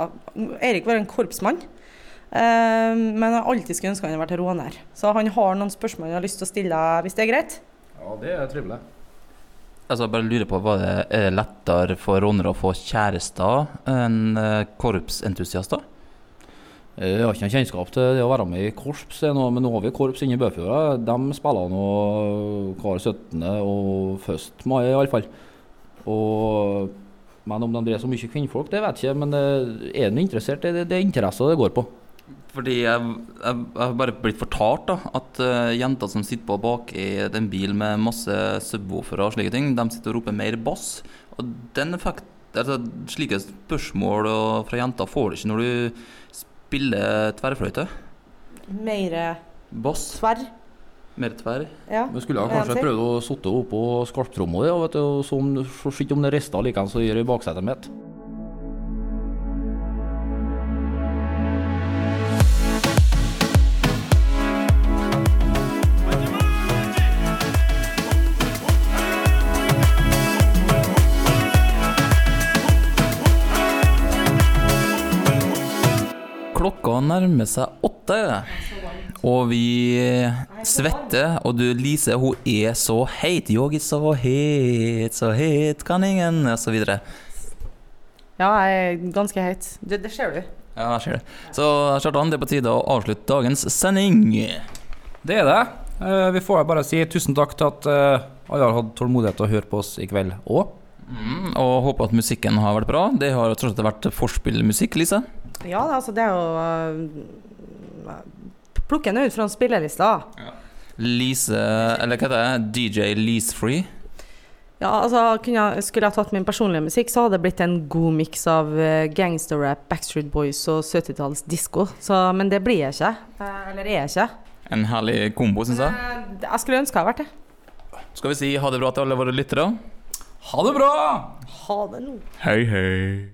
[SPEAKER 3] Eirik var en korpsmann, eh, men han har alltid skulle ønske han hadde vært råner. Så han har noen spørsmål han har lyst til å stille deg, hvis det er greit?
[SPEAKER 5] Ja, det er trivelig.
[SPEAKER 11] Altså, jeg bare lurer på, var det, Er det lettere for rånere å få kjærester enn eh, korpsentusiaster?
[SPEAKER 5] Eh, Jeg har ikke noe kjennskap til det å være med i korps, det er noe- men nå har vi korps inne i Bøfjorda. De spiller nå hver 17. og 1. mai iallfall. Og men om de dreier så mye kvinnfolk, det vet jeg ikke. Men eh, er de interessert, det, det er interesse det går på.
[SPEAKER 4] Fordi jeg, jeg, jeg har bare blitt fortalt da, at eh, jenter som sitter på bak i en bil med masse subwoofere og slike ting, de sitter og roper mer bass. Og den effekt, altså, slike spørsmål og, fra jenter får du ikke når du spiller tverrfløyte.
[SPEAKER 3] Mere
[SPEAKER 4] Bass.
[SPEAKER 3] tverr.
[SPEAKER 4] Mer tverr.
[SPEAKER 3] Ja.
[SPEAKER 6] Vi skulle ha kanskje prøvd å sitte oppå skarptromma di, og vet du, og så om- så se om det rister likeens som det gjør i baksetet mitt.
[SPEAKER 4] Klokka nærmer seg åtte, og vi svetter, og du, Lise, hun er så heit. Jeg er så het, så het kan ingen, og så videre.
[SPEAKER 3] Ja, jeg er ganske heit. Det, det ser du.
[SPEAKER 4] Ja, jeg ser det. Så Kjartan, det er på tide å avslutte dagens sending.
[SPEAKER 6] Det er det. Eh, Vi får bare si tusen takk til at eh, alle har hatt tålmodighet til å høre på oss i kveld òg.
[SPEAKER 4] Mm, og håper at musikken har vært bra. Det har tross alt vært forspillmusikk, Lise.
[SPEAKER 3] Ja, da, altså, det er jo øh, Plukke den ut fra spillelista.
[SPEAKER 4] Lise, eller hva heter det? DJ Lisefree.
[SPEAKER 3] Ja, altså, kunne jeg, skulle jeg tatt min personlige musikk, så hadde det blitt en god miks av eh, gangsterrap, Backstreet Boys og 70-talls disko. Men det blir jeg ikke. Eh, Eller er jeg ikke.
[SPEAKER 4] En herlig kombo, syns jeg.
[SPEAKER 3] Eh, Jeg skulle ønske jeg hadde vært det.
[SPEAKER 4] Skal vi si ha det bra til alle våre lyttere?
[SPEAKER 6] Ha det bra!
[SPEAKER 3] Ha det nå.
[SPEAKER 4] Hei, hei.